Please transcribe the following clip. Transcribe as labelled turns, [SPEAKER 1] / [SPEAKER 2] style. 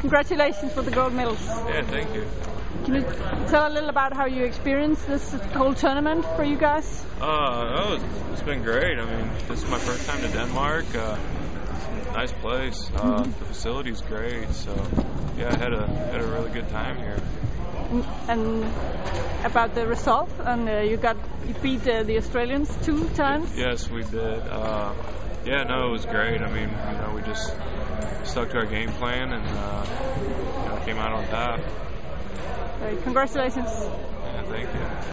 [SPEAKER 1] Congratulations for the gold medals.
[SPEAKER 2] Yeah, thank you.
[SPEAKER 1] Can you tell a little about how you experienced this whole tournament for you guys?
[SPEAKER 2] Uh, oh, it's- it's been great. I mean, this is my first time to Denmark. Uh, it's a nice place. Uh, the facility's great. So, yeah, I had a had a really good time here.
[SPEAKER 1] N- And about the result, and uh, you got you beat uh, the Australians two times.
[SPEAKER 2] Yes, we did. Uh, yeah, no, it was great. I mean, you know, we just stuck to our game plan and uh, you know, came out on top.
[SPEAKER 1] Uh, congratulations.
[SPEAKER 2] Yeah, thank you.